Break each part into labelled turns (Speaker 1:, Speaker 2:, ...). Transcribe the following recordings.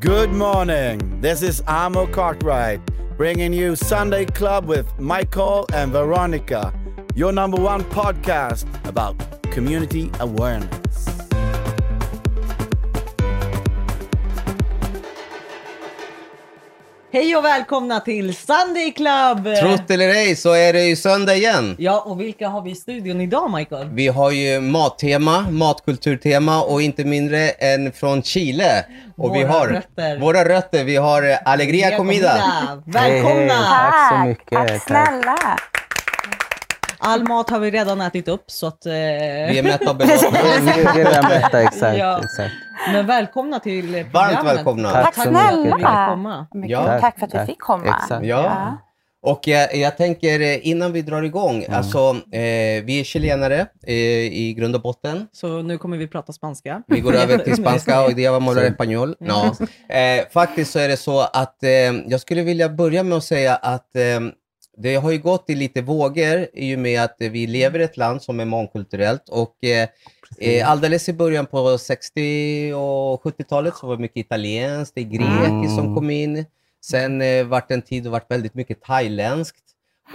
Speaker 1: Good morning. This is Amo Cartwright bringing you Sunday Club with Michael and Veronica, your number one podcast about community awareness.
Speaker 2: Hej och välkomna till Sunday Club!
Speaker 3: Trott eller ej så är det ju söndag igen.
Speaker 2: Ja, och vilka har vi i studion idag Michael?
Speaker 3: Vi har ju mattema, matkulturtema och inte mindre än från Chile. Och vi
Speaker 2: Våra
Speaker 3: har
Speaker 2: rötter.
Speaker 3: våra rötter. Vi har eh, Alegria Comida.
Speaker 2: Välkomna!
Speaker 4: Tack
Speaker 5: så mycket,
Speaker 4: Tack
Speaker 5: tack.
Speaker 4: snälla.
Speaker 2: All mat har vi redan ätit upp så att... Eh...
Speaker 3: Vi är mätta och belåtna.
Speaker 5: Vi är redan mätta, exakt.
Speaker 2: Ja.
Speaker 5: exakt.
Speaker 2: Men välkomna till programmet.
Speaker 3: Varmt välkomna.
Speaker 4: Tack
Speaker 5: Tack
Speaker 2: Tack
Speaker 5: så
Speaker 2: för att ni
Speaker 4: snälla.
Speaker 2: ville komma.
Speaker 4: Mycket
Speaker 3: Ja.
Speaker 4: tack, för att vi
Speaker 5: Tack.
Speaker 4: fick komma.
Speaker 5: Exakt.
Speaker 3: Ja. Och jag, jag tänker eh, innan vi drar igång, alltså eh, vi är chilenare eh, i grund och botten.
Speaker 2: Så nu kommer vi prata spanska.
Speaker 3: Vi går över till spanska och det var målar espanol. No. Eh, faktiskt så är det så att eh, jag skulle vilja börja med att säga att eh, det har ju gått i lite vågor i och med att eh, vi lever i ett land som är mångkulturellt och eh, eh, alldeles i början på 60 och 70-talet så var det mycket italienskt, det är grekiskt som kom in. Sen eh, vart det en tid då vart väldigt mycket thailändskt.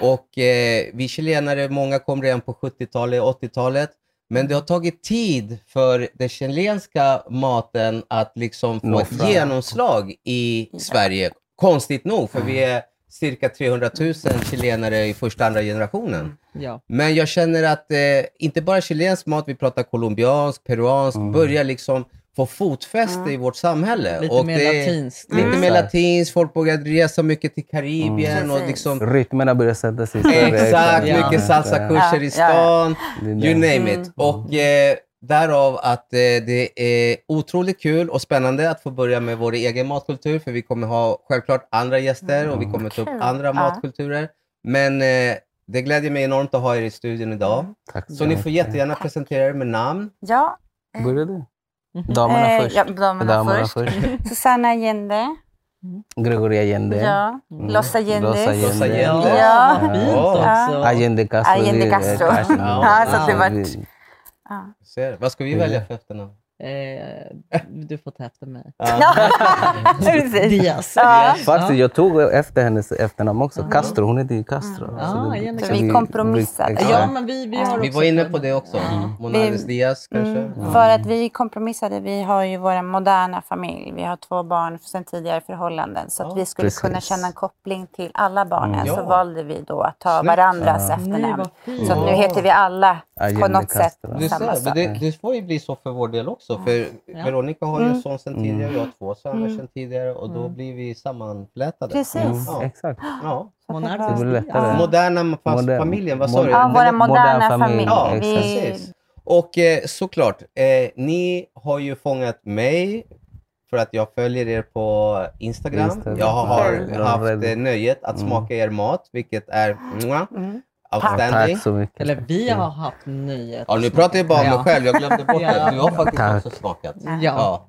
Speaker 3: Och eh, vi chilenare, många kom redan på 70-talet, 80-talet. Men det har tagit tid för den chilenska maten att liksom få
Speaker 5: Nå
Speaker 3: ett
Speaker 5: fram.
Speaker 3: genomslag i Sverige. Konstigt nog, för vi är cirka 300 000 chilenare i första andra generationen.
Speaker 2: Ja.
Speaker 3: Men jag känner att eh, inte bara chilensk mat, vi pratar colombiansk, peruansk, börjar liksom få fotfäste i vårt samhälle.
Speaker 2: Lite
Speaker 3: Och
Speaker 2: mer
Speaker 3: det-
Speaker 2: latinskt.
Speaker 3: Lite mer
Speaker 5: Exakt.
Speaker 3: latinskt, folk börjar resa mycket till Karibien
Speaker 4: Mm.
Speaker 3: och
Speaker 4: Precis.
Speaker 3: liksom
Speaker 5: Rytmerna börjar sättas i Sverige.
Speaker 3: Exakt,
Speaker 2: Ja.
Speaker 3: mycket salsakurser
Speaker 4: Ja,
Speaker 3: i
Speaker 4: ja, ja.
Speaker 3: stan,
Speaker 5: Det där.
Speaker 3: you name
Speaker 4: Mm.
Speaker 3: it. Och eh, därav att eh, det är otroligt kul och spännande att få börja med vår egen matkultur, för vi kommer ha självklart andra gäster och vi kommer ta upp
Speaker 4: Kul.
Speaker 3: andra
Speaker 4: Ja.
Speaker 3: matkulturer. Men eh, det glädjer mig enormt att ha er i studion
Speaker 4: Mm.
Speaker 3: idag.
Speaker 5: Tack
Speaker 3: Så ni får
Speaker 5: mycket.
Speaker 3: jättegärna presentera er med namn.
Speaker 4: Ja,
Speaker 2: Eh,
Speaker 5: Börja du.
Speaker 2: mhm.
Speaker 5: Damerna
Speaker 4: eh,
Speaker 5: först.
Speaker 4: ja, damerna först. Susanna Allende.
Speaker 5: Gregoria Allende.
Speaker 4: Ja. Los Allende.
Speaker 5: Los Mm. Allende.
Speaker 3: Los Allende.
Speaker 4: Ja.
Speaker 2: vad fint
Speaker 3: Ja.
Speaker 2: också.
Speaker 5: Allende Castro.
Speaker 4: Allende
Speaker 5: det är
Speaker 4: Castro.
Speaker 3: Ja, så
Speaker 4: att det
Speaker 5: Ja,
Speaker 4: vart-
Speaker 5: vi-
Speaker 4: Ja.
Speaker 3: Ser. Vad ska vi välja för efternamn?
Speaker 2: Eh, du får ta efter mig.
Speaker 4: Precis.
Speaker 2: Diaz.
Speaker 4: Ja.
Speaker 5: Faktiskt, jag tog efter hennes efternamn också.
Speaker 2: Ja.
Speaker 5: Castro, hon heter ju Castro.
Speaker 2: Ja,
Speaker 5: Så det-
Speaker 2: Allende
Speaker 4: Så vi kompromissade.
Speaker 5: exakt. Mm,
Speaker 2: Ja, men vi, vi har
Speaker 3: Vi
Speaker 2: också-
Speaker 3: var inne på det också. Monades Diaz kanske?
Speaker 4: Mm, för att vi kompromissade. Vi har ju vår moderna familj. Vi har två barn sedan tidigare förhållanden. Så att
Speaker 3: Ja.
Speaker 4: vi skulle
Speaker 5: Precis.
Speaker 4: kunna känna en koppling till alla barnen.
Speaker 3: Mm.
Speaker 4: Så
Speaker 3: Ja.
Speaker 4: valde vi då att ta
Speaker 3: Snyggt.
Speaker 4: varandras
Speaker 2: Nej,
Speaker 4: efternamn.
Speaker 2: vad fint.
Speaker 4: Så att nu
Speaker 3: Ja.
Speaker 4: heter vi alla på
Speaker 5: Allende
Speaker 4: något sätt
Speaker 5: Castro.
Speaker 3: Du
Speaker 4: samma
Speaker 3: ser, men
Speaker 4: sak.
Speaker 3: det, det får ju bli så för vår del också. För Veronica har ju
Speaker 5: Mm.
Speaker 3: en son sedan tidigare, jag har två söner sedan tidigare och då blir vi sammanflätade.
Speaker 4: Mm. Precis.
Speaker 5: Mm,
Speaker 3: Ja.
Speaker 5: Exakt.
Speaker 3: Ja.
Speaker 2: Monarkens
Speaker 4: Det
Speaker 5: blir
Speaker 2: Diaz.
Speaker 5: lättare.
Speaker 3: Moderna ma- fast
Speaker 5: Modern-
Speaker 3: familjen, vad sa du?
Speaker 4: Ja,
Speaker 5: modern-
Speaker 4: våra
Speaker 3: Den-
Speaker 4: moderna
Speaker 5: modern familj.
Speaker 4: familj.
Speaker 3: Ja,
Speaker 4: Vi-
Speaker 3: precis. Och eh, såklart, eh, ni har ju fångat mig för att jag följer er på Instagram.
Speaker 5: Instagram.
Speaker 3: Jag har
Speaker 5: Följ.
Speaker 3: haft eh, nöjet
Speaker 5: Mm.
Speaker 3: att smaka er mat, vilket är mwah, outstanding.
Speaker 5: Tack så mycket.
Speaker 2: Eller vi har haft nöjet.
Speaker 3: Ja, nu pratar jag bara om mig
Speaker 2: Ja.
Speaker 3: själv. Jag glömde bort
Speaker 2: Ja.
Speaker 3: det. Du har faktiskt
Speaker 5: Tack.
Speaker 3: också smakat.
Speaker 2: Ja.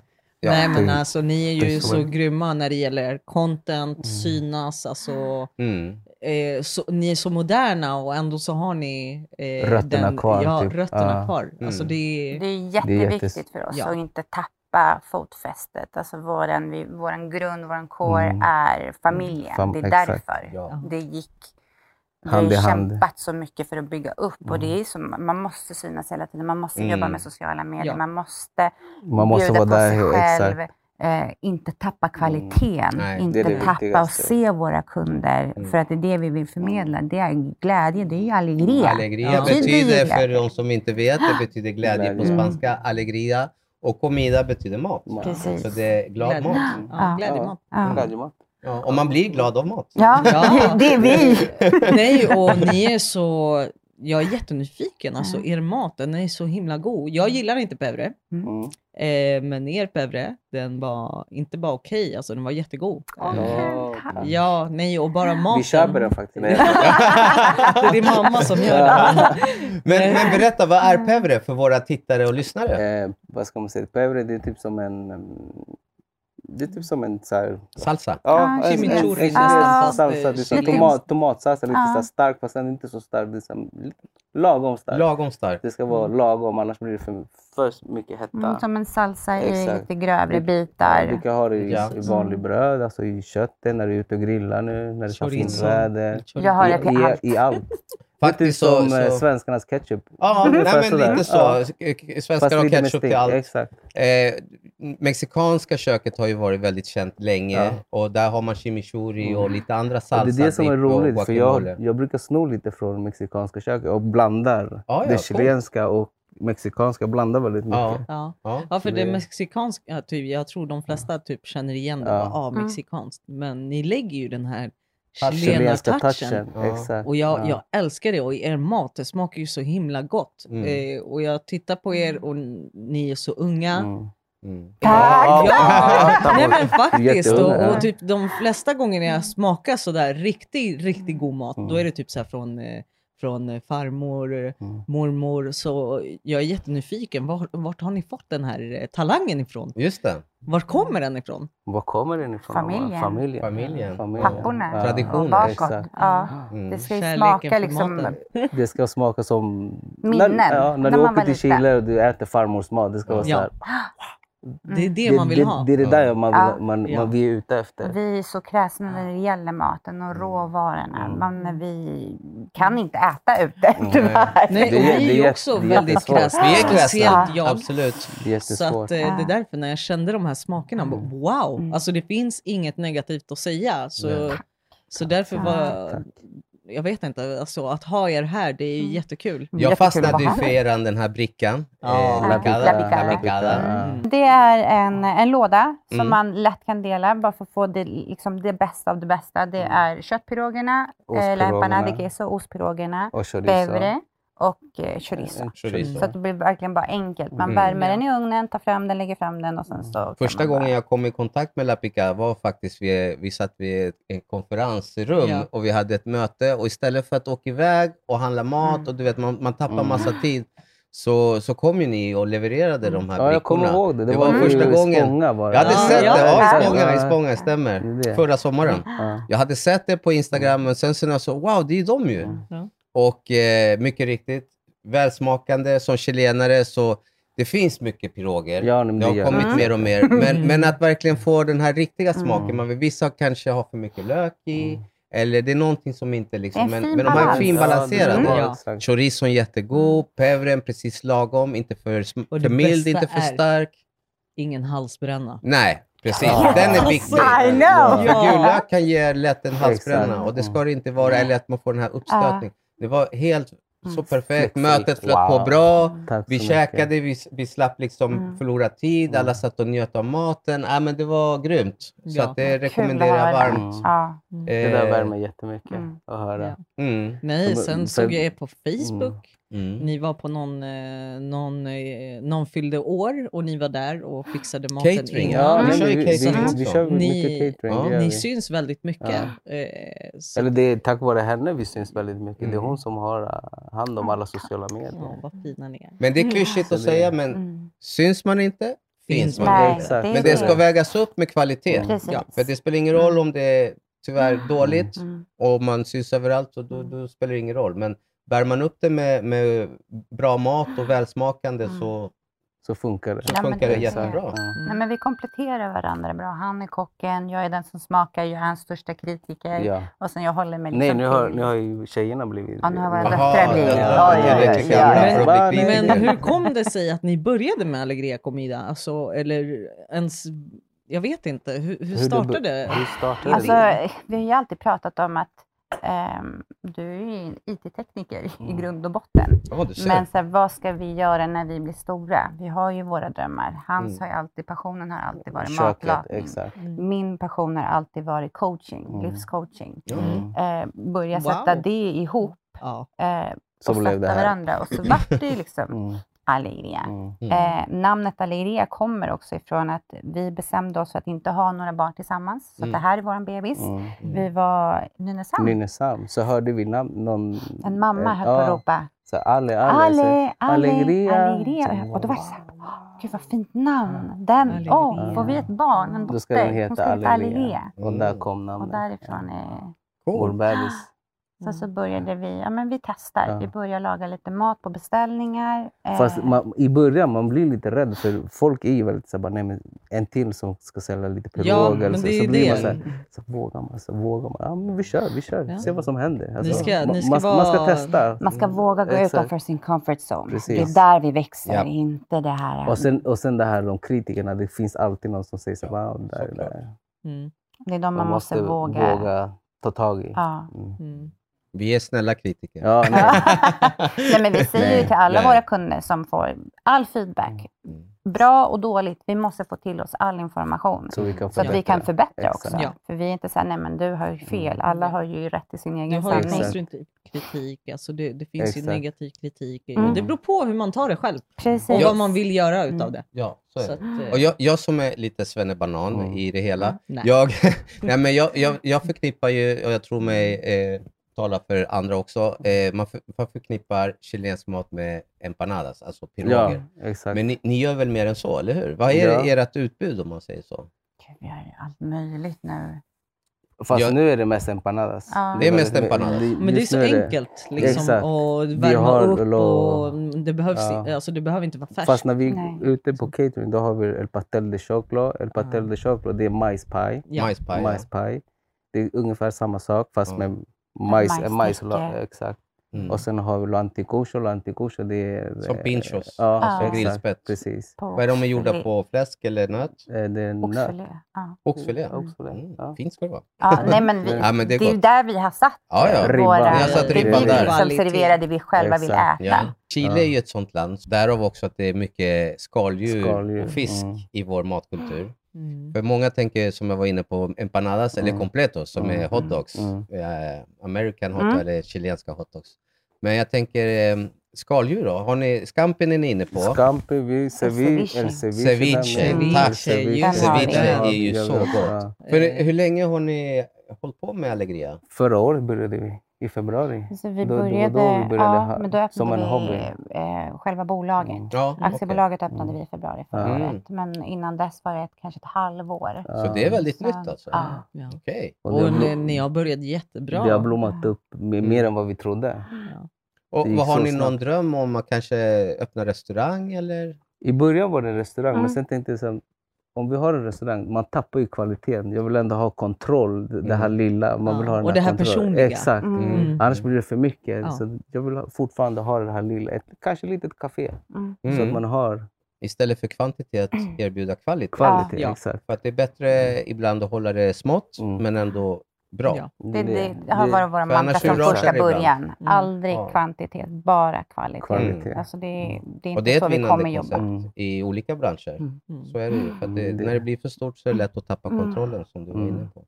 Speaker 3: Ja.
Speaker 2: Nej men
Speaker 5: det-
Speaker 2: alltså ni är
Speaker 5: det
Speaker 2: ju
Speaker 5: är Mm. så.
Speaker 2: så grymma när det gäller content, synas, alltså
Speaker 3: Mm.
Speaker 2: eh, så, ni är så moderna och ändå så har ni eh,
Speaker 5: Rötterna kvar,
Speaker 2: Ja,
Speaker 5: typ.
Speaker 2: rötterna
Speaker 5: Ja.
Speaker 2: kvar. Alltså
Speaker 3: Mm.
Speaker 2: det är,
Speaker 4: Det är
Speaker 5: Det är
Speaker 4: jätteviktigt
Speaker 5: jättes-
Speaker 4: för oss
Speaker 2: Ja.
Speaker 4: att inte tappa fotfästet. Alltså våran, vi, våran grund, våran core
Speaker 5: Mm.
Speaker 4: är familjen.
Speaker 5: Fam-
Speaker 4: det är
Speaker 5: exakt.
Speaker 4: därför
Speaker 3: Ja.
Speaker 4: det gick. Vi
Speaker 5: Hand i
Speaker 4: har
Speaker 5: hand. Mm.
Speaker 4: kämpat så mycket för att bygga upp och det är som, man måste synas hela tiden. Man måste
Speaker 3: Mm.
Speaker 4: jobba med sociala medier.
Speaker 2: Ja.
Speaker 4: Man måste
Speaker 5: Man måste
Speaker 4: bjuda
Speaker 5: vara
Speaker 4: på sig
Speaker 5: där.
Speaker 4: själv.
Speaker 5: Exakt.
Speaker 4: Eh, inte tappa kvaliteten,
Speaker 3: Nej, det
Speaker 4: inte
Speaker 5: är det
Speaker 4: tappa och
Speaker 5: viktigaste. Mm.
Speaker 4: se våra kunder. För att det är det vi vill förmedla. Det är glädje, det är ju allegria.
Speaker 3: Alegria
Speaker 2: Ja.
Speaker 3: betyder,
Speaker 4: Betyder
Speaker 3: för de som inte vet, det betyder glädje på
Speaker 4: Mm.
Speaker 5: Glädje.
Speaker 3: spanska. Alegria. Och comida betyder mat.
Speaker 4: Precis.
Speaker 3: Så det är glad mat.
Speaker 5: Mm.
Speaker 2: Ja,
Speaker 4: Ja.
Speaker 2: glädjemat.
Speaker 4: Ja.
Speaker 3: Ja, och man blir glad av mat.
Speaker 4: Ja,
Speaker 2: Ja.
Speaker 4: det är vi.
Speaker 2: Nej och ni är så, jag är jättenyfiken alltså, er mat den är så himla god. Jag gillar inte pevre,
Speaker 5: Mm.
Speaker 2: eh, men er pevre den var inte bara okej, alltså den var jättegod.
Speaker 4: Åh,
Speaker 2: Eh,
Speaker 4: Ja.
Speaker 2: Ja, nej och bara maten.
Speaker 5: Vi köper den faktiskt. Nej,
Speaker 2: det är din mamma som gör det.
Speaker 3: Men, men berätta, vad är pevre för våra tittare och lyssnare?
Speaker 5: eh, vad ska man säga? Pevre, det är typ som en... mm, det är typ som en så här...
Speaker 3: Salsa.
Speaker 4: Ah,
Speaker 5: en- en-
Speaker 2: chimichurri
Speaker 5: en-
Speaker 4: nästan,
Speaker 5: en-
Speaker 4: fast
Speaker 5: Salsa, det är så här
Speaker 4: chilis.
Speaker 5: tomat, tomatsalsa, lite
Speaker 4: Ja.
Speaker 5: så här stark fast den är inte så stark. Det är så här, lite lagom stark.
Speaker 3: Lagom stark.
Speaker 5: Det ska vara lagom annars blir det för, för mycket hetta.
Speaker 4: Mm, som en salsa i
Speaker 5: Exakt.
Speaker 4: lite grövre
Speaker 5: Du-
Speaker 4: bitar.
Speaker 5: Du kan ha det i,
Speaker 3: Ja.
Speaker 5: i vanlig bröd, alltså i köttet, när du är ute och grillar nu, när det är fint
Speaker 3: Chorizo.
Speaker 5: väder.
Speaker 4: Jag har det till
Speaker 5: I,
Speaker 4: allt.
Speaker 5: i, I allt.
Speaker 3: Faktiskt
Speaker 5: Lite
Speaker 3: så...
Speaker 5: som eh,
Speaker 3: så
Speaker 5: svenskarnas ketchup.
Speaker 3: ja, nej, men
Speaker 5: sådär.
Speaker 3: lite
Speaker 5: Ja.
Speaker 3: så. eh, Svenskar har
Speaker 5: lite med
Speaker 3: ketchup till
Speaker 5: stek,
Speaker 3: allt.
Speaker 5: Exakt.
Speaker 3: Eh, mexikanska köket har ju varit väldigt känt länge
Speaker 5: Ja.
Speaker 3: och där har man chimichurri och lite andra
Speaker 5: Och
Speaker 3: salsa.
Speaker 5: det är det som är
Speaker 3: dip och
Speaker 5: roligt, för jag,
Speaker 3: guacamole.
Speaker 5: jag brukar sno lite från mexikanska köket och blandar.
Speaker 3: Ja, ja,
Speaker 5: det
Speaker 3: coolt.
Speaker 5: chilenska och mexikanska blandar väldigt mycket.
Speaker 3: Ja,
Speaker 2: Ja.
Speaker 3: ja.
Speaker 2: Ja, för det
Speaker 5: Det-
Speaker 2: mexikanska, typ, jag tror de flesta typ känner igen det,
Speaker 5: Ja.
Speaker 2: bara, ah,
Speaker 4: Mm.
Speaker 2: mexikanskt. Men ni lägger ju den här
Speaker 3: Touchen.
Speaker 2: chilenartouchen. touchen
Speaker 3: Ja.
Speaker 5: Exakt.
Speaker 2: Och jag,
Speaker 5: Ja.
Speaker 2: jag älskar det och er mat, det smakar ju så himla gott.
Speaker 3: Mm.
Speaker 2: Eh, och jag tittar på er och n- ni är så unga.
Speaker 5: Mm.
Speaker 3: Mm.
Speaker 4: Tack!
Speaker 5: Ja,
Speaker 2: Ja,
Speaker 5: ta
Speaker 2: nej
Speaker 5: bort.
Speaker 2: men faktiskt.
Speaker 5: Jätteunga,
Speaker 2: Och,
Speaker 5: ja.
Speaker 2: och typ de flesta gånger när jag smakar sådär riktigt, riktigt god mat, då
Speaker 5: Mm.
Speaker 2: är det typ såhär från, eh, från eh, farmor, eh,
Speaker 5: Mm.
Speaker 2: mormor. Så jag är jättenyfiken. Var, vart har ni fått den här eh, talangen ifrån?
Speaker 3: Just det.
Speaker 2: Var kommer den ifrån?
Speaker 5: Var kommer den ifrån?
Speaker 4: Familjen.
Speaker 5: Familjen.
Speaker 3: Familjen.
Speaker 4: Papporna.
Speaker 3: Traditioner,
Speaker 4: Och bakåt.
Speaker 5: Exakt.
Speaker 4: Ja.
Speaker 3: Mm.
Speaker 4: Det ska ju
Speaker 2: Kärleken
Speaker 4: smaka
Speaker 2: för
Speaker 4: liksom...
Speaker 2: maten.
Speaker 5: Det ska smaka som...
Speaker 4: Minnen,
Speaker 5: När, ja, när
Speaker 4: när
Speaker 5: du
Speaker 4: man
Speaker 5: åker
Speaker 4: var
Speaker 5: till
Speaker 4: liten.
Speaker 5: Chile och du äter farmors mat, det ska vara
Speaker 2: Ja.
Speaker 5: så här.
Speaker 2: Det är
Speaker 4: Mm.
Speaker 2: det, man vill
Speaker 5: det,
Speaker 2: ha.
Speaker 5: Det är det där man,
Speaker 4: Ja.
Speaker 5: vill, man,
Speaker 2: Ja.
Speaker 5: man vi är ute efter.
Speaker 4: Vi är så kräsna när det gäller maten och råvarorna.
Speaker 5: Mm.
Speaker 4: Men vi kan inte äta ute
Speaker 5: Nej.
Speaker 4: tyvärr.
Speaker 2: Nej,
Speaker 5: Det
Speaker 2: och
Speaker 5: är-
Speaker 2: vi
Speaker 5: det
Speaker 2: är
Speaker 5: är
Speaker 2: ju
Speaker 5: jätte-
Speaker 2: också
Speaker 5: det är
Speaker 2: väldigt
Speaker 5: jättesvårt.
Speaker 2: kräsna.
Speaker 3: Vi är
Speaker 2: speciellt
Speaker 3: kräsna.
Speaker 2: jag.
Speaker 3: Absolut.
Speaker 5: Det är
Speaker 2: Så
Speaker 5: jättesvårt.
Speaker 2: att, eh, det är därför när jag kände de här smakerna, bara, wow,
Speaker 4: Ah. Mm.
Speaker 2: alltså det finns inget negativt att säga. Så,
Speaker 3: Nej.
Speaker 2: så därför
Speaker 4: Ah.
Speaker 5: Tack.
Speaker 2: var, jag vet inte, alltså, att ha er här, det är ju
Speaker 4: Mm.
Speaker 2: jättekul.
Speaker 3: Jag
Speaker 4: Jättekul att
Speaker 3: fastnade ju
Speaker 4: vara
Speaker 3: för
Speaker 4: här.
Speaker 3: eran den här brickan.
Speaker 2: Ja.
Speaker 3: Eh, bricada,
Speaker 4: La bricada.
Speaker 3: la bricada.
Speaker 2: Mm.
Speaker 4: Det är en, en låda som
Speaker 3: Mm.
Speaker 4: man lätt kan dela bara för att få det, liksom, det bästa av det bästa. Det är köttpirogerna, eh,
Speaker 5: Mm. Ostpirogerna.
Speaker 4: lämparna de queso, ostpirogerna,
Speaker 5: Och chorizo.
Speaker 4: bevre och eh, chorizo.
Speaker 3: Mm. Chorizo.
Speaker 4: Så att det blir verkligen bara enkelt. Man
Speaker 5: Mm.
Speaker 4: värmer
Speaker 2: Ja.
Speaker 4: den i ugnen, tar fram den, lägger fram den och sen så... kan
Speaker 3: Första
Speaker 4: man bara-
Speaker 3: gången jag kom i kontakt med La Pica var faktiskt vid, vi satt vid ett- ett konferensrum
Speaker 2: Ja.
Speaker 3: och vi hade ett möte och istället för att åka iväg och handla mat
Speaker 4: Mm.
Speaker 3: och du vet man, man tappar
Speaker 5: Mm.
Speaker 3: massa tid så, så kom ju ni och levererade de här
Speaker 5: Ja, jag
Speaker 3: brickorna.
Speaker 5: kommer ihåg det. Det,
Speaker 3: Det
Speaker 5: var,
Speaker 3: var
Speaker 5: ju
Speaker 3: första
Speaker 5: i
Speaker 3: gången.
Speaker 5: Spånga var det.
Speaker 3: Jag hade
Speaker 2: Ja,
Speaker 3: sett
Speaker 2: ja,
Speaker 3: det, ja,
Speaker 5: exakt.
Speaker 3: i Spånga, i
Speaker 5: Ja,
Speaker 3: Spånga,
Speaker 5: det
Speaker 3: stämmer.
Speaker 5: är det.
Speaker 3: Förra sommaren.
Speaker 5: Ja.
Speaker 3: Jag hade sett det på Instagram, men sen så när jag såg, wow, det är ju de ju.
Speaker 5: Mm.
Speaker 2: Ja.
Speaker 3: Och eh, mycket riktigt, välsmakande som chilenare så det finns mycket piroger.
Speaker 5: Ja, men
Speaker 3: det har
Speaker 5: det gör
Speaker 3: kommit
Speaker 4: det.
Speaker 3: mer och mer. Men,
Speaker 2: Mm.
Speaker 3: men att verkligen få den här riktiga smaken.
Speaker 5: Mm.
Speaker 3: Man vill, vissa kanske har för mycket lök i,
Speaker 5: Mm.
Speaker 3: eller det är någonting som inte liksom...
Speaker 4: En
Speaker 3: Men,
Speaker 4: fin
Speaker 3: men de här är
Speaker 4: balans.
Speaker 3: finbalanserade.
Speaker 2: Mm. Ja.
Speaker 5: exakt.
Speaker 3: Chorizon jättegod, pevren precis lagom, inte för, sm-
Speaker 2: Mm. Och det
Speaker 3: för mild,
Speaker 2: bästa
Speaker 3: inte för
Speaker 2: är-
Speaker 3: stark.
Speaker 2: Ingen halsbränna.
Speaker 3: Nej, precis.
Speaker 5: Ja.
Speaker 3: Den är viktig.
Speaker 4: I know!
Speaker 3: För
Speaker 2: Ja.
Speaker 3: gul lök kan ge lätt en halsbränna
Speaker 5: Exakt. Mm.
Speaker 3: och det ska det inte vara, eller att man får den här uppstötning. Det var helt så
Speaker 4: Mm.
Speaker 3: perfekt.
Speaker 5: Flexibelt.
Speaker 3: Mytet flöt på
Speaker 5: Wow.
Speaker 3: bra.
Speaker 5: Tack
Speaker 3: Vi
Speaker 5: så mycket.
Speaker 3: käkade, vi, vi slapp liksom
Speaker 4: Mm.
Speaker 3: förlora tid,
Speaker 5: Mm.
Speaker 3: alla satt och njöt av maten. Ah, men det var grymt. Så
Speaker 2: Ja.
Speaker 3: att det
Speaker 4: Kul att
Speaker 3: rekommenderar jag
Speaker 4: höra.
Speaker 3: varmt.
Speaker 4: Ja.
Speaker 5: Mm. Det där
Speaker 3: Eh,
Speaker 5: värmer jättemycket
Speaker 4: Mm.
Speaker 5: att höra.
Speaker 2: Ja.
Speaker 3: Mm.
Speaker 2: Nej,
Speaker 5: Men-
Speaker 2: sen
Speaker 5: men-
Speaker 2: såg jag er på Facebook.
Speaker 3: Mm.
Speaker 2: Ni var på någon, eh, någon, eh, någon fyllde år och ni var där och fixade maten
Speaker 3: Catering,
Speaker 2: innan.
Speaker 5: Ja,
Speaker 3: Vi
Speaker 5: men
Speaker 3: kör ju
Speaker 5: vi,
Speaker 3: catering
Speaker 5: vi,
Speaker 3: också.
Speaker 5: vi kör
Speaker 2: Ni-
Speaker 5: mycket catering.
Speaker 3: Ja.
Speaker 5: det gör
Speaker 2: Ni
Speaker 5: vi.
Speaker 2: syns väldigt mycket. Eh, så,
Speaker 5: Eller det är tack vare henne vi syns väldigt mycket. Det
Speaker 3: Mm.
Speaker 5: är hon som har eh, hand om alla sociala medier.
Speaker 2: ja, vad fina ni är.
Speaker 3: Men det är klyschigt
Speaker 5: Så
Speaker 3: att
Speaker 5: det-
Speaker 3: säga, men
Speaker 4: Mm.
Speaker 3: syns man inte, finns
Speaker 2: Finns
Speaker 3: man
Speaker 2: man.
Speaker 3: inte.
Speaker 4: Nej,
Speaker 5: exakt.
Speaker 4: det är
Speaker 3: Men det ska
Speaker 4: det.
Speaker 3: vägas upp med kvalitet.
Speaker 4: Precis.
Speaker 3: Ja, för det spelar ingen roll om det är tyvärr dåligt
Speaker 4: Mm.
Speaker 3: och man syns överallt, så då, då spelar det ingen roll. Men bär man upp det med, med bra mat och välsmakande så,
Speaker 5: Så funkar det.
Speaker 3: så
Speaker 4: Ja, men
Speaker 3: funkar
Speaker 4: det
Speaker 3: det
Speaker 4: är
Speaker 3: jättebra.
Speaker 5: Ja.
Speaker 2: Mm.
Speaker 4: Nej, men vi kompletterar varandra bra. Han är kocken, jag är den som smakar, jag är hans största kritiker.
Speaker 3: Mm.
Speaker 5: Ja.
Speaker 4: Och sen jag håller mig liksom
Speaker 5: Nej, nu har,
Speaker 4: till-
Speaker 5: nu har ju tjejerna blivit...
Speaker 4: Ja, nu har våra
Speaker 3: Aha,
Speaker 4: döttrar blivit...
Speaker 3: ja,
Speaker 4: Ja,
Speaker 3: ja,
Speaker 4: ja,
Speaker 3: det
Speaker 4: ja,
Speaker 3: tycker jag är bra.
Speaker 4: ja, ja.
Speaker 2: Men-
Speaker 5: Bara, nej,
Speaker 2: Men
Speaker 5: nej.
Speaker 2: hur kom det sig att ni började med Allegria Comida? Alltså, eller ens, jag vet inte, hur, hur
Speaker 5: det
Speaker 2: startade
Speaker 5: bör-
Speaker 2: det?
Speaker 5: Hur startade
Speaker 4: Alltså,
Speaker 5: det?
Speaker 4: vi har ju alltid pratat om att ehm, du är ju en IT-tekniker i
Speaker 5: Mm.
Speaker 4: grund och botten.
Speaker 3: Ja, du ser.
Speaker 4: Men så här, vad ska vi göra när vi blir stora? Vi har ju våra drömmar. Hans
Speaker 3: Mm.
Speaker 4: har ju alltid, passionen har alltid varit
Speaker 5: Köket,
Speaker 4: matlagning.
Speaker 5: exakt.
Speaker 4: Min passion har alltid varit coaching,
Speaker 5: Mm.
Speaker 4: livscoaching.
Speaker 3: Ja.
Speaker 5: Mm.
Speaker 4: Eh, börja
Speaker 2: Wow.
Speaker 4: sätta det ihop
Speaker 2: Ja.
Speaker 4: eh,
Speaker 5: Så
Speaker 4: och
Speaker 5: blev det
Speaker 4: stötta
Speaker 5: här.
Speaker 4: varandra. Och så vart det ju liksom
Speaker 5: Mm.
Speaker 4: Alegria.
Speaker 5: Mm.
Speaker 4: Eh, namnet Alegria kommer också ifrån att vi bestämde oss för att inte ha några barn tillsammans. Så
Speaker 3: Mm.
Speaker 4: att det här är vår bebis.
Speaker 5: Mm.
Speaker 4: Vi var i Nynäshamn.
Speaker 5: Nynäshamn, så hörde vi namn, någon... Eh,
Speaker 4: en mamma höll på
Speaker 5: ja,
Speaker 4: att ropa
Speaker 5: Så alle, alle, så,
Speaker 4: Ale, Ale,
Speaker 5: Alegria.
Speaker 4: Alegria.
Speaker 5: Så,
Speaker 4: Och då var det så här, "Åh, gud vad fint namn. Den, åh,
Speaker 2: Alegria.
Speaker 4: får vi ett barn, en
Speaker 5: Då
Speaker 4: dotter,
Speaker 5: ska den
Speaker 4: hon
Speaker 5: heta
Speaker 4: ska heta
Speaker 5: Alleluia.
Speaker 4: Alegria.
Speaker 5: Och
Speaker 3: Mm.
Speaker 5: där kom namnet.
Speaker 4: Och därifrån, eh,
Speaker 5: Vår bebis.
Speaker 4: sen så började vi, ja men vi testar.
Speaker 5: Ja.
Speaker 4: Vi börjar laga lite mat på beställningar. eh,
Speaker 5: Fast man, i början man blir lite rädd för folk är ju väldigt såhär, nej men en till som ska sälja lite
Speaker 2: Ja,
Speaker 5: piroger.
Speaker 2: men
Speaker 5: så,
Speaker 2: det är
Speaker 5: så
Speaker 2: ju
Speaker 5: blir man
Speaker 2: det.
Speaker 5: såhär, så vågar man, så vågar man. Ja men vi kör, vi kör,
Speaker 2: Ja.
Speaker 5: se vad som händer. Alltså,
Speaker 2: ska-
Speaker 5: ma-
Speaker 2: ni ska
Speaker 5: man, man ska
Speaker 2: vara-
Speaker 5: testa.
Speaker 4: man ska våga gå
Speaker 5: Exakt.
Speaker 4: utanför sin comfort zone.
Speaker 5: Precis.
Speaker 4: Det är där vi växer,
Speaker 3: Ja.
Speaker 4: inte det här.
Speaker 5: Och sen, och sen det här om kritikerna, det finns alltid någon som säger så här, wow, där,
Speaker 3: såklart.
Speaker 5: där.
Speaker 2: Mm,
Speaker 4: det är de man, måste, våga.
Speaker 5: våga ta tag i.
Speaker 4: Ja.
Speaker 5: Mm.
Speaker 2: mm.
Speaker 3: Vi är snälla kritiker.
Speaker 5: Ja, nej.
Speaker 4: Nej, men vi säger ju till alla
Speaker 3: Nej.
Speaker 4: våra kunder som får all
Speaker 5: Mm.
Speaker 4: feedback,
Speaker 3: Mm.
Speaker 4: bra och dåligt, vi måste få till oss all information.
Speaker 5: Så vi kan
Speaker 4: Så att vi kan
Speaker 5: förbättra.
Speaker 4: förbättra
Speaker 5: Exakt.
Speaker 4: också.
Speaker 2: Ja.
Speaker 4: För vi är inte så här, nej men du har ju fel.
Speaker 5: Mm.
Speaker 4: Alla har ju rätt i sin
Speaker 2: Du
Speaker 4: egen
Speaker 2: har ju
Speaker 5: Exakt.
Speaker 4: sanning.
Speaker 2: konstruktiv kritik, alltså det, det finns ju
Speaker 5: Exakt.
Speaker 2: negativ kritik. i-
Speaker 4: Mm.
Speaker 2: Det beror på hur man tar det själv och
Speaker 4: Precis.
Speaker 2: vad man vill göra utav
Speaker 4: Mm.
Speaker 2: det.
Speaker 3: Ja, så är
Speaker 2: Så
Speaker 3: det.
Speaker 2: att, eh,
Speaker 3: Och jag, jag som är lite svennebanan
Speaker 5: Mm.
Speaker 3: i det hela.
Speaker 2: nej.
Speaker 3: Jag, nej, men jag, jag, jag förknippar ju, och jag tror mig eh, tala för andra också, eh, man, för, man förknippar chilensk mat med empanadas, alltså
Speaker 5: Ja,
Speaker 3: piroger.
Speaker 5: exakt.
Speaker 3: Men ni, ni gör väl mer än så, eller hur? Vad är
Speaker 5: Ja.
Speaker 3: ert utbud om man säger så?
Speaker 4: Gud, Vi gör ju allt möjligt nu.
Speaker 5: Fast
Speaker 3: Jag-
Speaker 5: nu är det mest empanadas.
Speaker 4: Ja.
Speaker 3: Det är mest empanadas.
Speaker 2: Men det är
Speaker 5: just
Speaker 2: så
Speaker 5: nu
Speaker 2: enkelt liksom,
Speaker 5: Exakt.
Speaker 2: att
Speaker 5: Vi
Speaker 2: värma
Speaker 5: har
Speaker 2: upp
Speaker 5: lo-
Speaker 2: och det, behövs,
Speaker 5: Ja.
Speaker 2: alltså, det behöver inte vara färskt.
Speaker 5: Fast när vi
Speaker 4: Nej.
Speaker 5: är ute på catering då har vi el pastel de choclo. El pastel de choclo det är majspaj.
Speaker 2: Ja.
Speaker 3: Majspaj? Ah. ja.
Speaker 5: majspaj. Det är ungefär samma sak fast
Speaker 3: Mm.
Speaker 5: med majs.
Speaker 4: Majsstickor.
Speaker 5: eh, majs exakt.
Speaker 3: Mm.
Speaker 5: Och sen har vi lo anticucho. Lo anticucho det är...
Speaker 3: Som
Speaker 5: eh,
Speaker 3: pinchos,
Speaker 5: Ja,
Speaker 4: alltså
Speaker 5: exakt.
Speaker 3: grillspett.
Speaker 5: Precis.
Speaker 4: På
Speaker 3: Vad är de gjorda
Speaker 4: oxfilé.
Speaker 3: på? Fläsk eller nöt?
Speaker 5: Eh, Det är nöt.
Speaker 4: Oxfilé. Ja.
Speaker 3: Oxfilé?
Speaker 5: Mm, oxfilé,
Speaker 3: Mm.
Speaker 5: ja.
Speaker 3: Fint ska det vara.
Speaker 4: Ja, nej, men vi,
Speaker 3: Ja, men det
Speaker 4: det,
Speaker 3: är
Speaker 4: är ju
Speaker 3: gott.
Speaker 4: där vi har satt
Speaker 3: Ja, ja.
Speaker 5: Ribban.
Speaker 4: våra...
Speaker 5: Vi
Speaker 3: har satt
Speaker 4: det
Speaker 3: ribban
Speaker 4: blir
Speaker 3: där.
Speaker 4: liksom
Speaker 2: Kvalitet.
Speaker 4: serverar det vi själva vill
Speaker 5: Exakt.
Speaker 4: äta.
Speaker 3: Ja. Chile
Speaker 5: Ja.
Speaker 3: är ju ett sånt land, därav också att det är mycket skaldjur,
Speaker 5: Skaldjur,
Speaker 3: och fisk
Speaker 5: mm.
Speaker 3: i vår matkultur.
Speaker 2: Mm.
Speaker 3: För många tänker, som jag var inne på, empanadas
Speaker 5: Mm.
Speaker 3: eller completos som
Speaker 5: Mm.
Speaker 3: är hotdogs.
Speaker 5: Mm.
Speaker 3: Eh, American hotdog
Speaker 4: Mm.
Speaker 3: eller chilenska hotdogs. Men jag tänker eh, skaldjur då? Har ni, skampen är ni inne på.
Speaker 5: Scampi, vi, ceviche.
Speaker 4: ceviche.
Speaker 5: El ceviche.
Speaker 3: Ceviche,
Speaker 5: där med-
Speaker 2: tack.
Speaker 5: El
Speaker 2: Den har vi.
Speaker 5: Den har
Speaker 3: är ju
Speaker 5: vi.
Speaker 3: så
Speaker 5: Ja,
Speaker 3: gott.
Speaker 5: ja.
Speaker 3: För
Speaker 4: Eh.
Speaker 3: hur länge har ni hållit på med Allegria?
Speaker 5: Förra året började vi, i februari.
Speaker 4: Så vi
Speaker 5: Då- då- då
Speaker 4: började,
Speaker 5: vi började
Speaker 4: ja,
Speaker 5: ha-
Speaker 4: men då öppnade
Speaker 5: som en
Speaker 4: vi
Speaker 5: hobby.
Speaker 4: Eh, själva bolaget.
Speaker 5: Mm.
Speaker 3: Ja, Mm. okej. Mm.
Speaker 4: Aktiebolaget öppnade vi i februari förra
Speaker 5: Ja.
Speaker 4: året, men innan dess var det ett, kanske ett halvår.
Speaker 3: Så det är väldigt
Speaker 4: Så-
Speaker 3: nytt alltså?
Speaker 4: ja.
Speaker 2: Ja.
Speaker 3: Okej.
Speaker 5: Och det
Speaker 2: Och
Speaker 5: har blo-
Speaker 2: ni, ni har börjat jättebra.
Speaker 5: Det har blommat upp med-
Speaker 4: Mm.
Speaker 5: mer än vad vi trodde.
Speaker 2: Ja.
Speaker 3: Och
Speaker 5: Det gick
Speaker 3: vad har
Speaker 5: så
Speaker 3: ni någon
Speaker 5: snabbt.
Speaker 3: dröm om att kanske öppna restaurang eller?
Speaker 5: I början var det en restaurang, men
Speaker 4: Mm.
Speaker 5: sen tänkte jag så här, om vi har en restaurang, man tappar ju kvaliteten. Jag vill ändå ha kontroll, det- det här lilla. Man vill
Speaker 2: Ja,
Speaker 5: ha den
Speaker 2: och det här
Speaker 5: kontrollen.
Speaker 2: personliga.
Speaker 5: Exakt.
Speaker 4: Mm.
Speaker 2: Mm.
Speaker 5: Annars blir det för mycket.
Speaker 2: Ja.
Speaker 5: Så jag vill ha, fortfarande ha det här lilla. Ett, kanske ett litet café.
Speaker 4: Mm.
Speaker 5: Så att man har
Speaker 3: Istället för kvantitet erbjuda kvalitet.
Speaker 5: kvalitet.
Speaker 2: Ja.
Speaker 5: Exakt.
Speaker 3: För att det är bättre ibland att hålla det smått,
Speaker 5: Mm.
Speaker 3: men ändå bra.
Speaker 2: Ja.
Speaker 4: Det, det, har varit våra
Speaker 3: för annars
Speaker 4: mantra från
Speaker 3: hur rasar
Speaker 4: första
Speaker 3: det ibland.
Speaker 4: början. Aldrig
Speaker 3: Ja.
Speaker 4: kvantitet, bara kvalitet.
Speaker 5: kvalitet.
Speaker 4: Alltså det, är- det är
Speaker 3: Och
Speaker 4: inte
Speaker 3: det är
Speaker 4: så
Speaker 3: ett
Speaker 4: vi kommer
Speaker 3: vinnande
Speaker 4: jobba.
Speaker 3: koncept
Speaker 5: jobba.
Speaker 3: i olika branscher.
Speaker 4: Mm.
Speaker 2: Mm.
Speaker 3: Så är det ju. För att det,
Speaker 5: Mm, det-
Speaker 3: när det blir för stort så är det lätt att tappa
Speaker 4: Mm.
Speaker 3: kontrollen, som du var inne
Speaker 5: Mm.
Speaker 3: på.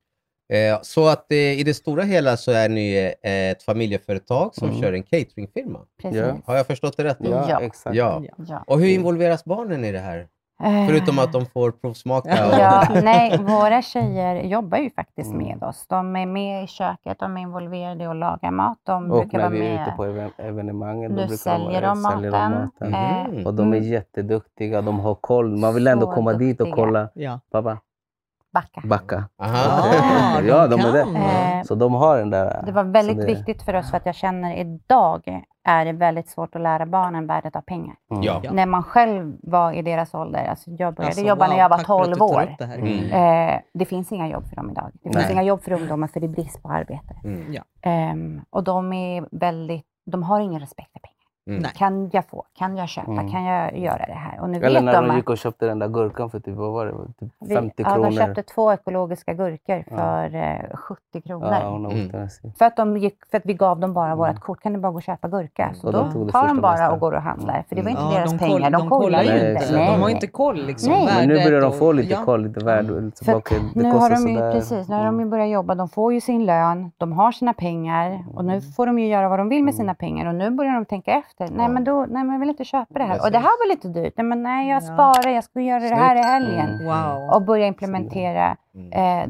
Speaker 3: Eh, så att eh, i det stora hela så är ni eh, ett familjeföretag som
Speaker 5: Mm.
Speaker 3: kör en cateringfirma.
Speaker 4: Precis.
Speaker 5: Ja.
Speaker 3: Har jag förstått det rätt? nu?
Speaker 5: Ja,
Speaker 4: Ja.
Speaker 5: exakt.
Speaker 3: ja.
Speaker 2: Ja.
Speaker 4: Ja.
Speaker 3: Och hur involveras barnen i det här?
Speaker 4: Eh,
Speaker 3: Förutom att de får provsmaka? Och...
Speaker 4: Ja, nej, våra tjejer jobbar ju faktiskt
Speaker 5: Mm.
Speaker 4: med oss. De är med i köket, de är involverade i att laga mat. De
Speaker 5: Och
Speaker 4: brukar
Speaker 5: när
Speaker 4: vara
Speaker 5: vi är
Speaker 4: med.
Speaker 5: ute på even- evenemangen, då
Speaker 4: Nu
Speaker 5: brukar
Speaker 4: säljer
Speaker 5: vara-
Speaker 4: de
Speaker 5: säljer de
Speaker 4: maten.
Speaker 5: maten.
Speaker 4: Eh,
Speaker 3: Mhm.
Speaker 5: Och de är
Speaker 4: Mm.
Speaker 5: jätteduktiga, de har koll. Man vill ändå
Speaker 4: Så
Speaker 5: komma dit och
Speaker 4: duktiga.
Speaker 5: kolla.
Speaker 2: Ja.
Speaker 5: Pappa,
Speaker 4: Backa.
Speaker 5: backa.
Speaker 3: Aha.
Speaker 2: Ah,
Speaker 5: ja,
Speaker 2: de
Speaker 5: de är
Speaker 2: kan.
Speaker 5: det.
Speaker 4: Eh,
Speaker 5: Så de har den där...
Speaker 4: Det var
Speaker 5: så
Speaker 4: väldigt
Speaker 5: det-
Speaker 4: viktigt för oss för att jag känner idag är det väldigt svårt att lära barnen värdet av pengar.
Speaker 5: Mm.
Speaker 3: Ja.
Speaker 2: Ja.
Speaker 4: När man själv var i deras ålder, alltså jag började
Speaker 2: Alltså,
Speaker 4: jobba
Speaker 2: wow,
Speaker 4: när jag var
Speaker 2: tack för att du
Speaker 4: 12
Speaker 2: tar
Speaker 4: år.
Speaker 2: upp Det här.
Speaker 3: Mm.
Speaker 4: Eh, det finns inga jobb för dem idag. Det finns
Speaker 5: Nej.
Speaker 4: inga jobb för ungdomar för det är brist på arbete.
Speaker 3: Mm.
Speaker 4: Ehm, och de är väldigt, de har ingen respekt för pengar.
Speaker 3: Mm.
Speaker 2: Nej.
Speaker 4: Kan jag få? Kan jag köpa?
Speaker 5: Mm.
Speaker 4: Kan jag göra det här? Och nu
Speaker 5: Eller
Speaker 4: vet
Speaker 5: när de
Speaker 4: de att
Speaker 5: gick och köpte den där gurkan för typ, vad var det? Typ
Speaker 4: vi,
Speaker 5: 50
Speaker 4: ja,
Speaker 5: kronor.
Speaker 4: de köpte två ekologiska gurkor
Speaker 5: Ja.
Speaker 4: för eh, 70 kronor.
Speaker 5: Ja, hon har
Speaker 3: Mm.
Speaker 5: åkt den här.
Speaker 4: För att, de gick, för att vi gav dem bara
Speaker 5: Mm.
Speaker 4: vårt kort. Kan ni bara gå och köpa gurka? Så
Speaker 5: Och de
Speaker 4: då
Speaker 5: tog det
Speaker 4: tar
Speaker 5: första
Speaker 4: de bara
Speaker 5: bästa.
Speaker 4: och går och handlar. För det var
Speaker 5: Mm.
Speaker 4: inte
Speaker 2: Ja,
Speaker 4: deras
Speaker 2: de koll-
Speaker 4: pengar. De,
Speaker 2: de
Speaker 4: kollar ju
Speaker 5: Nej,
Speaker 4: inte.
Speaker 5: exakt.
Speaker 4: Nej,
Speaker 2: De har
Speaker 4: nej.
Speaker 2: inte koll liksom.
Speaker 4: Nej.
Speaker 5: Men nu
Speaker 2: värdet
Speaker 5: börjar de få
Speaker 2: och-
Speaker 5: lite
Speaker 2: ja.
Speaker 5: koll, lite värde.
Speaker 4: För
Speaker 5: För, okay, det
Speaker 4: nu har
Speaker 5: kostar
Speaker 4: de ju,
Speaker 5: sådär.
Speaker 4: precis, nu har de ju börjat jobba. De får ju sin lön, de har sina pengar och nu får de ju göra vad de vill med sina pengar. Och nu börjar de tänka efter. Nej,
Speaker 3: Ja.
Speaker 4: men då, nej, men jag vill inte köpa det här.
Speaker 3: Precis.
Speaker 4: Och det här var lite dyrt. Nej, men nej, jag
Speaker 2: Ja.
Speaker 4: sparar. Jag ska göra det här i helgen.
Speaker 3: Mm.
Speaker 2: Wow.
Speaker 4: Och börja implementera. Eh,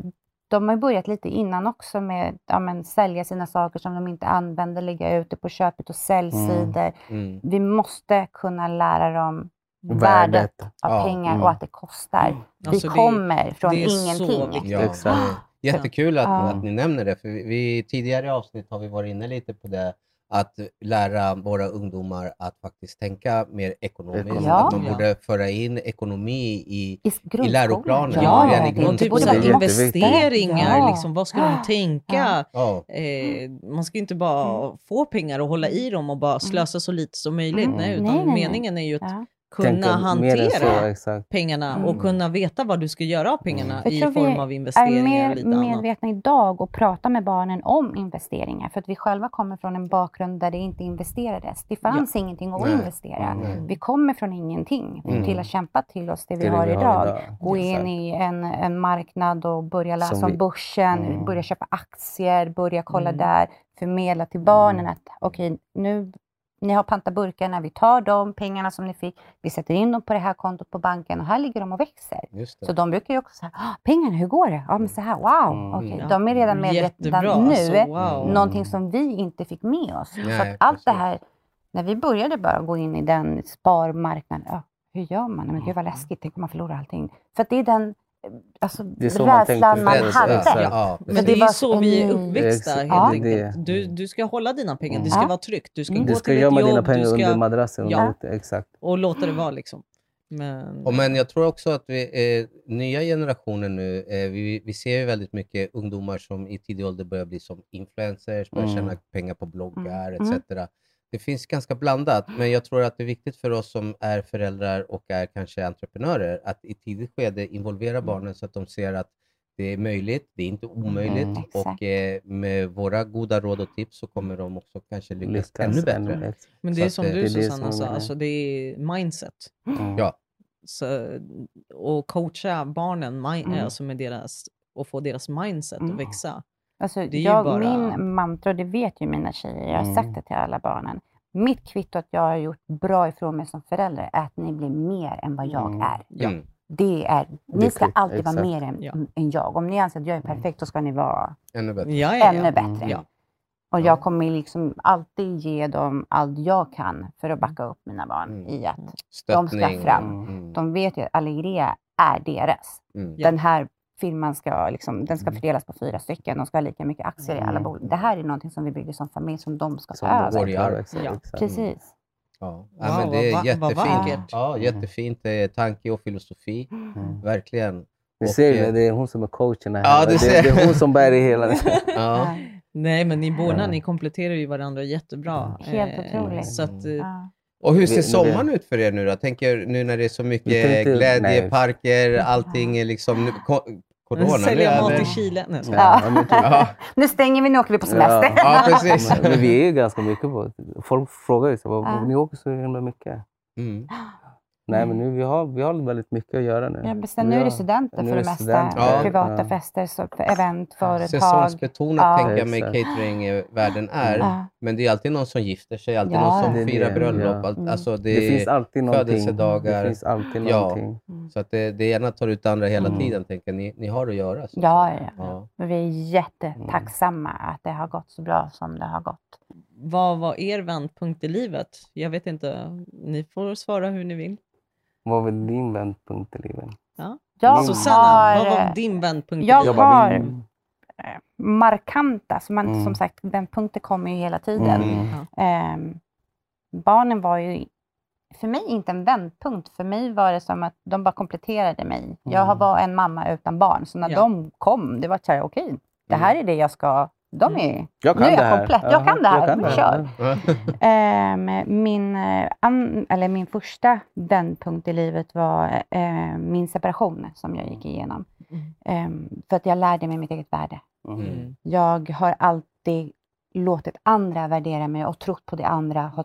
Speaker 4: de har ju börjat lite innan också med ja, men, sälja sina saker som de inte använder, lägga ut det på köpet och säljsidor.
Speaker 3: Mm.
Speaker 4: Vi måste kunna lära dem värdet,
Speaker 5: Värdet.
Speaker 4: av
Speaker 3: Ja,
Speaker 4: pengar
Speaker 5: mm.
Speaker 4: och att det kostar. Vi
Speaker 2: Alltså, det-
Speaker 4: kommer från
Speaker 2: det är så
Speaker 4: ingenting.
Speaker 2: viktigt.
Speaker 3: Ja.
Speaker 5: Exakt.
Speaker 3: Jättekul att,
Speaker 4: Ja.
Speaker 3: att ni nämner det, för vi, vi, tidigare avsnitt har vi varit inne lite på det, att lära våra ungdomar att faktiskt tänka mer ekonomiskt.
Speaker 5: Ekonomi.
Speaker 4: Ja.
Speaker 3: Att man
Speaker 2: Ja.
Speaker 3: borde föra in ekonomi i...
Speaker 4: I, s- grundskolan.
Speaker 3: läroplanen.
Speaker 2: Ja,
Speaker 4: det är
Speaker 3: ja,
Speaker 4: det.
Speaker 2: och
Speaker 3: grundskolan.
Speaker 2: typ
Speaker 4: borde
Speaker 2: så här
Speaker 4: vara-
Speaker 5: Det är
Speaker 2: investeringar.
Speaker 4: Ja.
Speaker 2: Liksom, vad ska de tänka?
Speaker 3: Ja,
Speaker 2: Eh, man ska ju inte bara få pengar och hålla i dem och bara slösa så lite som möjligt.
Speaker 4: Mm.
Speaker 2: Nej,
Speaker 4: Nej,
Speaker 2: utan
Speaker 4: nej, nej.
Speaker 2: meningen är ju att
Speaker 4: Ja.
Speaker 2: kunna
Speaker 5: mer än
Speaker 2: hantera
Speaker 5: så, exakt.
Speaker 2: pengarna
Speaker 4: Mm.
Speaker 2: och kunna veta vad du ska göra av pengarna
Speaker 4: Jag
Speaker 2: i
Speaker 4: tror vi
Speaker 2: form av
Speaker 4: är
Speaker 2: investeringar och
Speaker 4: mer
Speaker 2: lite annat.
Speaker 4: medvetna idag och prata med barnen om investeringar. För att vi själva kommer från en bakgrund där det inte investerades. Det fanns ingenting att
Speaker 3: Nej.
Speaker 4: investera.
Speaker 3: Nej.
Speaker 4: Vi kommer från ingenting
Speaker 3: Mm.
Speaker 4: till att kämpa till oss det vi
Speaker 5: Det är det
Speaker 4: har idag. Gå
Speaker 5: Exakt.
Speaker 4: in i en, en marknad och börja läsa
Speaker 5: Som vi-
Speaker 4: om börsen,
Speaker 5: Mm.
Speaker 4: börja köpa aktier, börja kolla
Speaker 2: Mm.
Speaker 4: där, förmedla till
Speaker 5: Mm.
Speaker 4: barnen att okej, nu ni har pantat burkarna, vi tar de pengarna som ni fick, vi sätter in dem på det här kontot på banken och här ligger de och växer.
Speaker 3: just det.
Speaker 4: Så de brukar ju också säga, "Ah, pengarna, hur går det? Ja, men så här, wow.
Speaker 5: Mm.
Speaker 4: Okej,
Speaker 2: Ja.
Speaker 4: De är redan medvetna
Speaker 2: Jättebra,
Speaker 4: nu.
Speaker 2: alltså, wow.
Speaker 4: Någonting som vi inte fick med oss.
Speaker 3: Nej,
Speaker 4: så att allt det
Speaker 3: precis.
Speaker 4: här, när vi började bara gå in i den sparmarknaden, ja, hur gör man? Men
Speaker 5: Mm.
Speaker 4: gud vad läskigt, tänk om man förlorar allting. För att det är den eh, alltså,
Speaker 5: Det är så man
Speaker 4: rädslan
Speaker 5: tänkte
Speaker 4: man,
Speaker 5: förr,
Speaker 3: Rädsla.
Speaker 4: hade.
Speaker 5: exakt.
Speaker 3: Ja,
Speaker 2: Men det,
Speaker 4: Men
Speaker 3: precis.
Speaker 4: det
Speaker 2: är
Speaker 4: var
Speaker 2: ju så vi är
Speaker 4: en-
Speaker 2: uppväxta
Speaker 5: Ex-
Speaker 2: helt
Speaker 5: ja.
Speaker 2: enkelt.
Speaker 5: Det-
Speaker 2: Du, du ska hålla dina pengar, det
Speaker 5: Mm.
Speaker 2: ska
Speaker 4: Ja.
Speaker 2: vara tryggt. Du ska
Speaker 4: Mm.
Speaker 2: gå
Speaker 5: Du ska
Speaker 2: till
Speaker 5: gömma
Speaker 2: ditt
Speaker 5: dina
Speaker 2: jobb
Speaker 5: pengar
Speaker 2: du ska,
Speaker 5: under madrassen.
Speaker 2: Ja.
Speaker 5: Och, exakt.
Speaker 2: och låta det vara. Liksom. Men,
Speaker 3: Och men jag tror också att vi, eh, nya generationen nu, eh, vi, vi ser ju väldigt mycket ungdomar som i tidig ålder börjar bli som influencers, börjar
Speaker 5: Mm.
Speaker 3: tjäna pengar på bloggar
Speaker 4: Mm. Mm.
Speaker 3: etc. Det finns ganska blandat, men jag tror att det är viktigt för oss som är föräldrar och är kanske entreprenörer att i tidigt skede involvera
Speaker 4: Mm.
Speaker 3: barnen så att de ser att det är möjligt, det är inte omöjligt
Speaker 5: Mm.
Speaker 3: och
Speaker 4: Exakt.
Speaker 3: eh, med våra goda råd och tips så kommer de också kanske lyckas, ännu bättre.
Speaker 2: men det
Speaker 3: så
Speaker 2: är
Speaker 3: att
Speaker 2: som
Speaker 3: det-
Speaker 2: du
Speaker 5: det är det som
Speaker 2: Susanna
Speaker 5: jag
Speaker 2: sa,
Speaker 5: menar.
Speaker 2: alltså, det är mindset.
Speaker 5: Mm.
Speaker 3: Ja.
Speaker 2: Så, och coacha barnen mi-
Speaker 4: Mm.
Speaker 2: alltså med deras, och få deras mindset
Speaker 4: Mm.
Speaker 2: att växa.
Speaker 4: Alltså,
Speaker 2: Det är ju
Speaker 4: jag,
Speaker 2: bara-
Speaker 4: Min mantra, och det vet ju mina tjejer, jag har
Speaker 5: Mm.
Speaker 4: sagt det till alla barnen. Mitt kvitto att jag har gjort bra ifrån mig som förälder är att ni blir mer än vad jag
Speaker 5: Mm.
Speaker 4: är.
Speaker 2: Ja.
Speaker 3: Mm.
Speaker 4: Det är, ni
Speaker 5: Det
Speaker 4: ska
Speaker 5: är-
Speaker 4: alltid vara
Speaker 5: exakt. Mm.
Speaker 4: mer än,
Speaker 2: Ja.
Speaker 4: än jag. Om ni anser att jag är perfekt, då ska ni vara
Speaker 3: Ännu bättre.
Speaker 2: Ja, ja,
Speaker 4: ännu
Speaker 2: ja.
Speaker 4: bättre.
Speaker 2: Ja.
Speaker 4: Och
Speaker 3: Ja.
Speaker 4: jag kommer liksom alltid ge dem allt jag kan för att backa upp mina barn
Speaker 3: Mm.
Speaker 4: i att
Speaker 3: Stöttning.
Speaker 4: De ska fram.
Speaker 3: Mm.
Speaker 4: de vet ju att Allegria är deras.
Speaker 3: Mm.
Speaker 2: Ja.
Speaker 4: Den här firman ska, liksom, den ska fördelas på fyra stycken. De ska ha lika mycket aktier i alla
Speaker 5: Mm.
Speaker 4: bolag. Det här är någonting som vi bygger som familj, som de ska
Speaker 5: Som
Speaker 4: ta
Speaker 5: de
Speaker 4: över.
Speaker 3: går
Speaker 5: ska
Speaker 3: i
Speaker 5: klara.
Speaker 3: arv.
Speaker 5: Exakt,
Speaker 2: Ja.
Speaker 5: exakt.
Speaker 4: Precis.
Speaker 3: Ja,
Speaker 2: Wow,
Speaker 3: ja, men det
Speaker 2: vad
Speaker 3: är
Speaker 2: va- vad
Speaker 3: jättefint.
Speaker 2: vackert.
Speaker 3: Ja,
Speaker 5: Mm.
Speaker 3: jättefint eh, tanke och filosofi. Verkligen.
Speaker 5: Ni
Speaker 3: Och,
Speaker 5: ser ju,
Speaker 3: eh,
Speaker 5: det, det är hon som är coachen här.
Speaker 3: Ja,
Speaker 5: det,
Speaker 3: du
Speaker 5: det,
Speaker 3: ser.
Speaker 5: är hon som bär i hela.
Speaker 3: Ja.
Speaker 2: Nej, men ni båda,
Speaker 5: Ja.
Speaker 2: ni kompletterar ju varandra jättebra.
Speaker 4: Helt
Speaker 2: Eh,
Speaker 4: otroligt.
Speaker 2: Så att, eh,
Speaker 4: Ja.
Speaker 3: Och hur
Speaker 5: Vi-
Speaker 3: ser
Speaker 5: vi-
Speaker 3: sommaren ut för er nu då? Jag Tänker nu när det är så
Speaker 5: Vi
Speaker 3: mycket
Speaker 5: tänkte-
Speaker 3: glädje,
Speaker 5: nej.
Speaker 3: parker, allting är liksom... Nu, ko- corona nu
Speaker 2: Sälja mat i
Speaker 3: eller?
Speaker 2: Chile. Nej, jag skojar.
Speaker 5: Ja, men typ.
Speaker 3: Ja,
Speaker 4: Nu stänger vi, nu åker vi på semester.
Speaker 3: ja precis.
Speaker 5: Men vi är ju ganska mycket på... Folk frågar ju så, "Vad-
Speaker 4: Ja. Mm.
Speaker 5: ni åker så himla mycket.
Speaker 3: Mm.
Speaker 5: Nej, men nu, vi, har, vi har väldigt mycket att göra nu.
Speaker 4: Ja, men sen nu är det studenter
Speaker 5: Nu
Speaker 4: för
Speaker 5: är
Speaker 4: det
Speaker 5: det
Speaker 4: mesta.
Speaker 5: studenter.
Speaker 3: Ja.
Speaker 4: Privata
Speaker 5: Ja.
Speaker 4: fester, så, för event, företag.
Speaker 3: Säsongsbetonat
Speaker 4: Ja.
Speaker 3: tänker jag mig
Speaker 5: Exakt.
Speaker 3: cateringvärlden är.
Speaker 4: Ja.
Speaker 3: Men det är alltid någon som gifter sig, alltid
Speaker 4: Ja.
Speaker 3: någon
Speaker 5: Det är
Speaker 3: som
Speaker 5: det.
Speaker 3: firar bröllop.
Speaker 5: Ja.
Speaker 3: Allt- Alltså det,
Speaker 5: Det, finns alltid någonting.
Speaker 3: födelsedagar.
Speaker 5: Det finns alltid
Speaker 3: Ja.
Speaker 5: någonting.
Speaker 3: Så att det, det ena tar ut det andra hela
Speaker 5: Mm.
Speaker 3: tiden. Tänker jag. ni, ni har att göra. Så. att
Speaker 4: Ja,
Speaker 3: säga.
Speaker 4: ja, ja.
Speaker 3: ja.
Speaker 4: Men vi är jättetacksamma
Speaker 2: Mm.
Speaker 4: att det har gått så bra som det har gått.
Speaker 2: Vad var er vändpunkt i livet? Jag vet inte. Ni får svara hur ni vill.
Speaker 5: Vad vill din vändpunkt i livet?
Speaker 4: Jag
Speaker 2: Mm. Susanna,
Speaker 4: har
Speaker 2: vad var
Speaker 4: eh,
Speaker 2: din vändpunkt
Speaker 4: jag
Speaker 2: i livet?
Speaker 4: har-
Speaker 5: bara,
Speaker 4: Har-
Speaker 5: "Mm,
Speaker 4: markanta, så man,
Speaker 5: Mm.
Speaker 4: som sagt, vändpunkter kommer ju hela tiden.
Speaker 5: mm,
Speaker 4: Ehm, barnen var ju för mig inte en vändpunkt. För mig var det som att de bara kompletterade mig. Jag
Speaker 5: Mm.
Speaker 4: var en mamma utan barn, så när
Speaker 2: Ja. Mm.
Speaker 4: de kom, det var så här, okej, det här är det jag ska... De är,
Speaker 5: Jag
Speaker 4: Nu är
Speaker 5: det
Speaker 4: jag
Speaker 5: här.
Speaker 4: komplett. Jag kan det här. Kör.
Speaker 3: Ja.
Speaker 2: Mm.
Speaker 4: Ehm, min, eh, an, eller min första vändpunkt i livet var eh, min separation som jag gick igenom.
Speaker 2: Mm.
Speaker 4: Ehm, för att jag lärde mig mitt eget värde.
Speaker 5: Mm.
Speaker 2: Mm.
Speaker 4: Jag har alltid låtit andra värdera mig och trott på det andra.
Speaker 2: Och
Speaker 4: Har,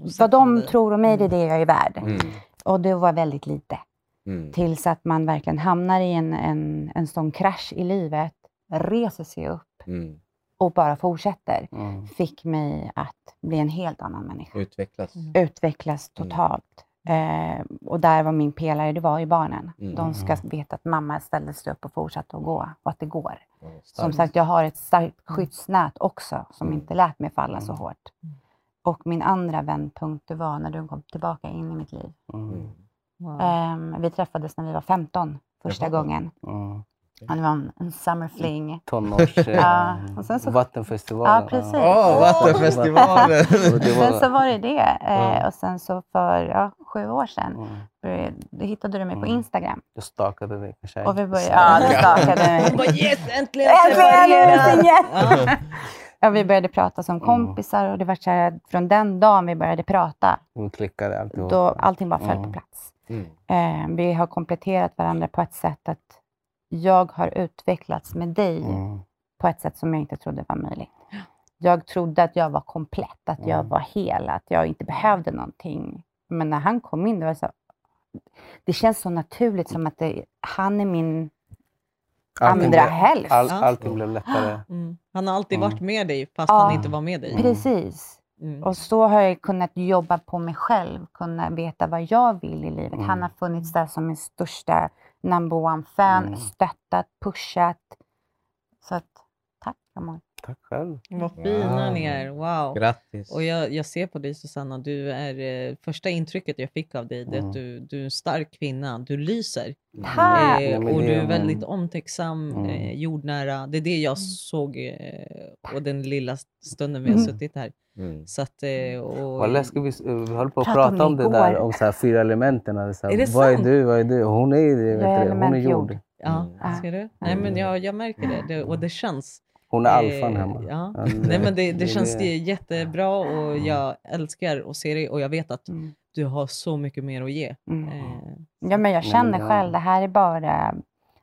Speaker 4: vad
Speaker 2: sätta
Speaker 4: de
Speaker 2: dig.
Speaker 4: tror om mig, det är det jag är värd.
Speaker 3: Mm.
Speaker 4: Och det var väldigt lite.
Speaker 3: Mm.
Speaker 4: Tills att man verkligen hamnar i en, en, en sån krasch i livet, reser sig upp
Speaker 3: Mm.
Speaker 4: och bara fortsätter
Speaker 5: Mm.
Speaker 4: fick mig att bli en helt annan människa.
Speaker 3: Utvecklas.
Speaker 4: Utvecklas
Speaker 3: Mm.
Speaker 4: totalt. Eh, och där var min pelare, det var ju barnen.
Speaker 3: Mm.
Speaker 4: De ska veta att mamma ställde sig upp och fortsatte att gå och att det går.
Speaker 3: Ja, starkt.
Speaker 4: Som sagt, jag har ett starkt skyddsnät också som inte lät mig falla så hårt. Och min andra vändpunkt det var när du kom tillbaka in i mitt liv.
Speaker 5: Mm.
Speaker 3: Mm.
Speaker 2: Wow.
Speaker 4: Ehm, vi träffades när vi var 15 första
Speaker 3: Jaha.
Speaker 4: gången.
Speaker 5: Mm.
Speaker 4: Ja, det var en, en summer fling.
Speaker 5: Tonårs... Mm. eh,
Speaker 4: Ja, och sen så-
Speaker 5: Vattenfestivalen.
Speaker 4: Ja, precis.
Speaker 3: Åh, Vattenfestivalen!
Speaker 5: Och det
Speaker 4: Sen så
Speaker 5: var...
Speaker 4: var det det. Eh,
Speaker 3: Ja.
Speaker 4: Och sen så för ja, sju år sedan
Speaker 5: Mm.
Speaker 4: började, då hittade du mig på
Speaker 5: Mm.
Speaker 4: Instagram.
Speaker 5: Jag stakade dig med tjej.
Speaker 4: Och vi började... Ja, du stakade mig.
Speaker 2: Hon bara yes, äntligen
Speaker 4: Äntligen
Speaker 2: separerad!
Speaker 4: är vi Ja, vi började prata som kompisar och det var så här, från den dagen vi började prata,
Speaker 5: Vi klickade alltihop.
Speaker 4: då allting bara föll på
Speaker 5: Mm.
Speaker 4: plats.
Speaker 3: Mm.
Speaker 4: Eh, vi har kompletterat varandra på ett sätt att jag har utvecklats med dig
Speaker 5: Mm.
Speaker 4: på ett sätt som jag inte trodde var möjligt. Jag trodde att jag var komplett, att jag
Speaker 5: Mm.
Speaker 4: var hel, att jag inte behövde någonting. Men när han kom in, det var så... Det känns så naturligt som att det, han är min
Speaker 5: Allting
Speaker 4: andra
Speaker 5: blev-
Speaker 4: hälft.
Speaker 5: All,
Speaker 2: Ja.
Speaker 5: allting blev lättare.
Speaker 2: Mm. Han har alltid
Speaker 5: Mm.
Speaker 2: varit med dig fast
Speaker 4: Ja.
Speaker 2: han inte var med dig.
Speaker 4: Precis.
Speaker 2: Mm.
Speaker 4: Och så har jag kunnat jobba på mig själv, kunna veta vad jag vill i livet. Han
Speaker 5: Mm.
Speaker 4: har funnits där som min största number one-fan,
Speaker 5: Mm.
Speaker 4: stöttat, pushat. Så att, tack Ramon.
Speaker 5: Tack själv.
Speaker 2: Vad fina
Speaker 3: Wow.
Speaker 2: ni är, wow.
Speaker 3: Grattis.
Speaker 2: Och jag, jag ser på dig Susanna, du är, eh, första intrycket jag fick av dig det är
Speaker 5: Mm.
Speaker 2: att du, du är en stark kvinna, du lyser.
Speaker 4: Tack!
Speaker 2: Eh,
Speaker 5: Ja, Ah! men
Speaker 2: och
Speaker 5: Mm. det-
Speaker 2: du är väldigt omtänksam,
Speaker 5: Mm.
Speaker 2: eh, jordnära. Det är det jag såg eh, och den lilla stunden vi har
Speaker 4: Mm.
Speaker 2: suttit här.
Speaker 3: Mm.
Speaker 2: Så att, eh, och,
Speaker 5: Vad läskigt, vi, s- vi höll på att
Speaker 4: Pratade om
Speaker 5: prata om
Speaker 4: det
Speaker 5: det där,
Speaker 4: igår.
Speaker 5: om så här fyra elementen. och Så här,
Speaker 2: Är det
Speaker 5: vad är
Speaker 2: sant?
Speaker 5: du, vad är du? Hon är ju det,
Speaker 4: Jag är
Speaker 5: vet du, hon är
Speaker 4: element
Speaker 5: jord.
Speaker 4: jord.
Speaker 5: Mm.
Speaker 2: ja, ser du? Nej men jag, jag märker det, det och det känns.
Speaker 5: Hon är alfan
Speaker 2: Eh,
Speaker 5: hemma.
Speaker 2: ja.
Speaker 5: Ja,
Speaker 2: Nej men det, det känns
Speaker 5: det- Mm.
Speaker 2: jättebra och jag älskar att se dig och jag vet att
Speaker 4: Mm.
Speaker 2: du har så mycket mer att ge.
Speaker 4: Mm.
Speaker 2: Eh,
Speaker 4: Ja, men
Speaker 5: Men
Speaker 4: jag känner
Speaker 5: det-
Speaker 4: själv, det här är bara...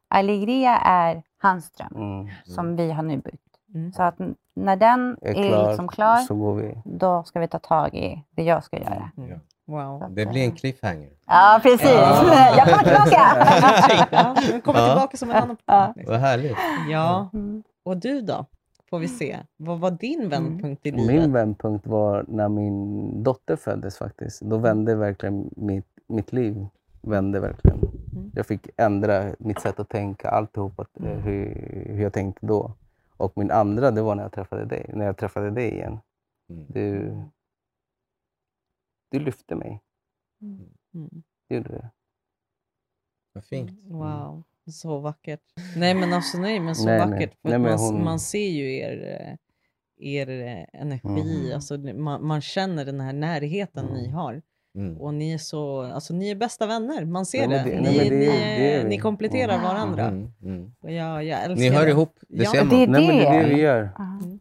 Speaker 4: Alegria är hans dröm
Speaker 5: Mm.
Speaker 4: som vi har nu byggt.
Speaker 2: Mm.
Speaker 4: Så att n- när den är,
Speaker 5: Är klar,
Speaker 4: liksom klar,
Speaker 5: så Mm. går vi.
Speaker 4: då ska vi ta tag i det jag ska göra.
Speaker 2: Mm. Wow.
Speaker 4: Så att,
Speaker 3: Det blir en cliffhanger.
Speaker 4: Ja, precis.
Speaker 3: Ja.
Speaker 4: Jag kommer tillbaka!
Speaker 2: Ja, den kommer
Speaker 3: Ja.
Speaker 2: tillbaka som en annan
Speaker 4: Ja.
Speaker 3: Vad härligt.
Speaker 2: Ja,
Speaker 4: Mm.
Speaker 2: och du då? Får vi se. Vad var din vändpunkt i
Speaker 5: Min
Speaker 2: livet?
Speaker 5: vändpunkt var när min dotter föddes faktiskt. Då vände verkligen mitt, mitt liv. Vände verkligen.
Speaker 2: Mm.
Speaker 5: Jag fick ändra mitt sätt att tänka, alltihop, att, eh, hur, hur jag tänkte då. Och min andra, det var när jag träffade dig, när jag träffade dig igen.
Speaker 3: Mm.
Speaker 5: Du, du lyfte mig.
Speaker 2: Mm.
Speaker 5: Du gjorde det.
Speaker 3: Vad fint.
Speaker 2: Wow, så vackert. Nej men alltså nej, men så
Speaker 5: Nej, nej.
Speaker 2: vackert. För
Speaker 5: Nej,
Speaker 2: att
Speaker 5: men
Speaker 2: man,
Speaker 5: hon-
Speaker 2: man ser ju er, eh, er eh, energi,
Speaker 5: Mm.
Speaker 2: alltså, det- man, man känner den här närheten
Speaker 5: Mm.
Speaker 2: ni har.
Speaker 3: Mm.
Speaker 2: Och ni är så, alltså ni är bästa vänner, man ser
Speaker 5: Nej, men
Speaker 2: det. Ni,
Speaker 5: det- nej, men det-
Speaker 2: ni,
Speaker 5: det är
Speaker 2: eh,
Speaker 5: vi.
Speaker 2: ni kompletterar
Speaker 4: Mm.
Speaker 2: varandra.
Speaker 3: Mm. Mm.
Speaker 2: Och jag, jag älskar
Speaker 3: Ni hör
Speaker 2: det.
Speaker 3: ihop, det
Speaker 2: Ja.
Speaker 3: ser
Speaker 4: Det är
Speaker 3: man.
Speaker 5: Nej, men det är det vi
Speaker 4: det.
Speaker 5: gör.
Speaker 4: Ja.
Speaker 2: Mm.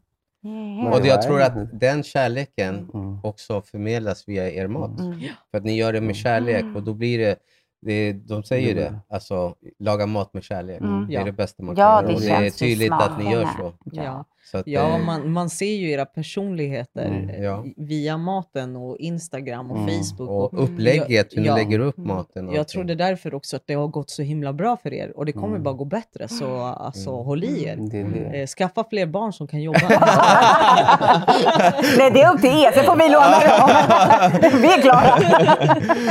Speaker 4: Yeah.
Speaker 3: Och
Speaker 5: det
Speaker 3: jag
Speaker 5: är
Speaker 3: tror
Speaker 5: det.
Speaker 3: att den kärleken
Speaker 5: Mm.
Speaker 3: också förmedlas via er mat.
Speaker 4: Mm.
Speaker 3: För att ni gör det med kärlek
Speaker 2: Mm.
Speaker 3: och då blir det, det de säger
Speaker 5: Det blir
Speaker 3: det, alltså laga mat med kärlek.
Speaker 4: Mm.
Speaker 3: Det är
Speaker 2: Ja.
Speaker 3: det bästa man
Speaker 4: Ja,
Speaker 3: kan
Speaker 4: det
Speaker 3: göra. Och det är
Speaker 4: känns i
Speaker 3: tydligt att ni gör
Speaker 4: smakerna.
Speaker 3: så.
Speaker 2: Ja.
Speaker 3: så att,
Speaker 2: Ja,
Speaker 3: eh,
Speaker 2: man, man ser ju era personligheter
Speaker 5: Mm,
Speaker 2: eh,
Speaker 3: ja.
Speaker 2: i- via maten och Instagram och
Speaker 5: Mm,
Speaker 2: Facebook. Och
Speaker 3: och upplägget, hur ni
Speaker 2: Ja.
Speaker 3: lägger upp
Speaker 4: Mm.
Speaker 3: maten. och
Speaker 2: jag tror det
Speaker 3: allting.
Speaker 2: är därför också att det har gått så himla bra för er och det kommer
Speaker 5: Mm.
Speaker 2: bara gå bättre. Så alltså,
Speaker 3: Mm.
Speaker 2: håll i er.
Speaker 5: Det är det.
Speaker 2: Eh, Skaffa fler barn som kan jobba.
Speaker 4: Nej, det är upp till er, så får vi låna dem. Vi är klara.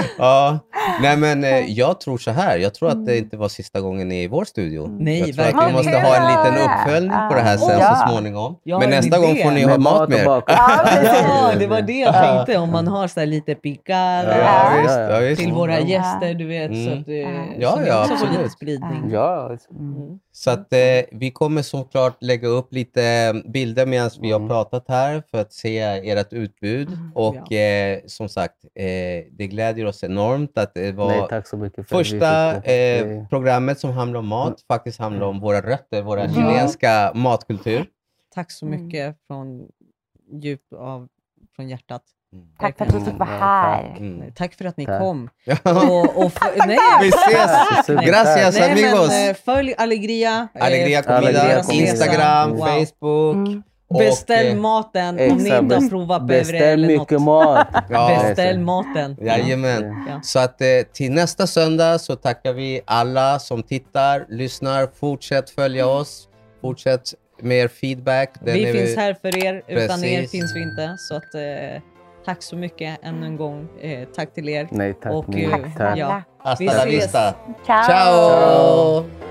Speaker 3: ja. Nej, men eh, jag tror så här. Jag tror att det inte var sista gången ni är i vår studio.
Speaker 5: Mm.
Speaker 2: Nej,
Speaker 3: jag tror att vi
Speaker 2: verkligen
Speaker 3: måste
Speaker 2: inte.
Speaker 3: ha en liten uppföljning på det här sen
Speaker 4: Ja.
Speaker 3: så småningom.
Speaker 2: Jag
Speaker 3: men
Speaker 2: har en
Speaker 3: nästa gång
Speaker 2: idé.
Speaker 3: får ni
Speaker 5: Men
Speaker 3: ha mat
Speaker 5: och
Speaker 3: med er.
Speaker 5: bakelse.
Speaker 4: Ja, precis.
Speaker 2: ja, det var det jag tänkte. Om man har så här lite
Speaker 3: Ja,
Speaker 2: pikar
Speaker 4: Ja.
Speaker 3: visst, ja, visst.
Speaker 2: till våra
Speaker 5: Ja.
Speaker 2: gäster, du vet. Så
Speaker 3: Mm.
Speaker 2: att, eh,
Speaker 3: Ja,
Speaker 2: så ni
Speaker 3: ja,
Speaker 2: också får lite
Speaker 3: absolut.
Speaker 2: spridning.
Speaker 5: Ja,
Speaker 2: Mm.
Speaker 3: Så att eh, vi kommer såklart lägga upp lite eh, bilder medan vi har
Speaker 5: Mm.
Speaker 3: pratat här för att se ert utbud. Och eh, som sagt, eh, det glädjer oss enormt att det var
Speaker 5: nej, tack så mycket för att vi
Speaker 3: första
Speaker 5: fick det. Mm.
Speaker 3: eh, programmet som handlar om mat faktiskt handlar om våra rötter, våra
Speaker 4: Ja.
Speaker 3: chilenska matkultur.
Speaker 2: Tack så
Speaker 4: Mm.
Speaker 2: mycket från djup av från hjärtat.
Speaker 5: Mm.
Speaker 4: Tack för att vi fick vara här.
Speaker 3: Mm.
Speaker 2: Tack för att ni
Speaker 5: Tack.
Speaker 2: kom.
Speaker 3: Ja.
Speaker 2: Och, och för, nej,
Speaker 3: Vi ses!
Speaker 5: Nej.
Speaker 3: Gracias
Speaker 2: nej,
Speaker 3: amigos!
Speaker 2: Men, eh, följ Allegria. eh,
Speaker 3: Alegria
Speaker 5: Alegria
Speaker 3: Comida,
Speaker 5: Comida.
Speaker 3: Instagram,
Speaker 2: Wow.
Speaker 3: Facebook.
Speaker 4: Mm.
Speaker 3: och,
Speaker 2: Beställ
Speaker 3: eh,
Speaker 2: maten om ni
Speaker 5: exakt.
Speaker 2: inte har
Speaker 5: Best-
Speaker 2: provat Bevre
Speaker 5: Beställ
Speaker 2: eller
Speaker 5: mycket
Speaker 2: något.
Speaker 5: mat.
Speaker 3: Ja.
Speaker 2: Beställ maten.
Speaker 3: Jajamän.
Speaker 2: Ja.
Speaker 3: Så att eh, till nästa söndag så tackar vi alla som tittar, lyssnar, fortsätt följa oss, fortsätt mer feedback. Den
Speaker 2: Mm. vi
Speaker 3: är
Speaker 2: finns här för er. Utan er
Speaker 3: Precis.
Speaker 2: finns vi inte. Så att, eh, tack så mycket ännu en gång. Eh, tack till er.
Speaker 5: Nej, tack.
Speaker 2: Och,
Speaker 5: ni.
Speaker 2: eh,
Speaker 4: Tack
Speaker 5: tack.
Speaker 4: snälla.
Speaker 3: Hasta
Speaker 2: Vi
Speaker 3: la
Speaker 2: ses.
Speaker 3: vista.
Speaker 4: Ciao!
Speaker 3: Ciao.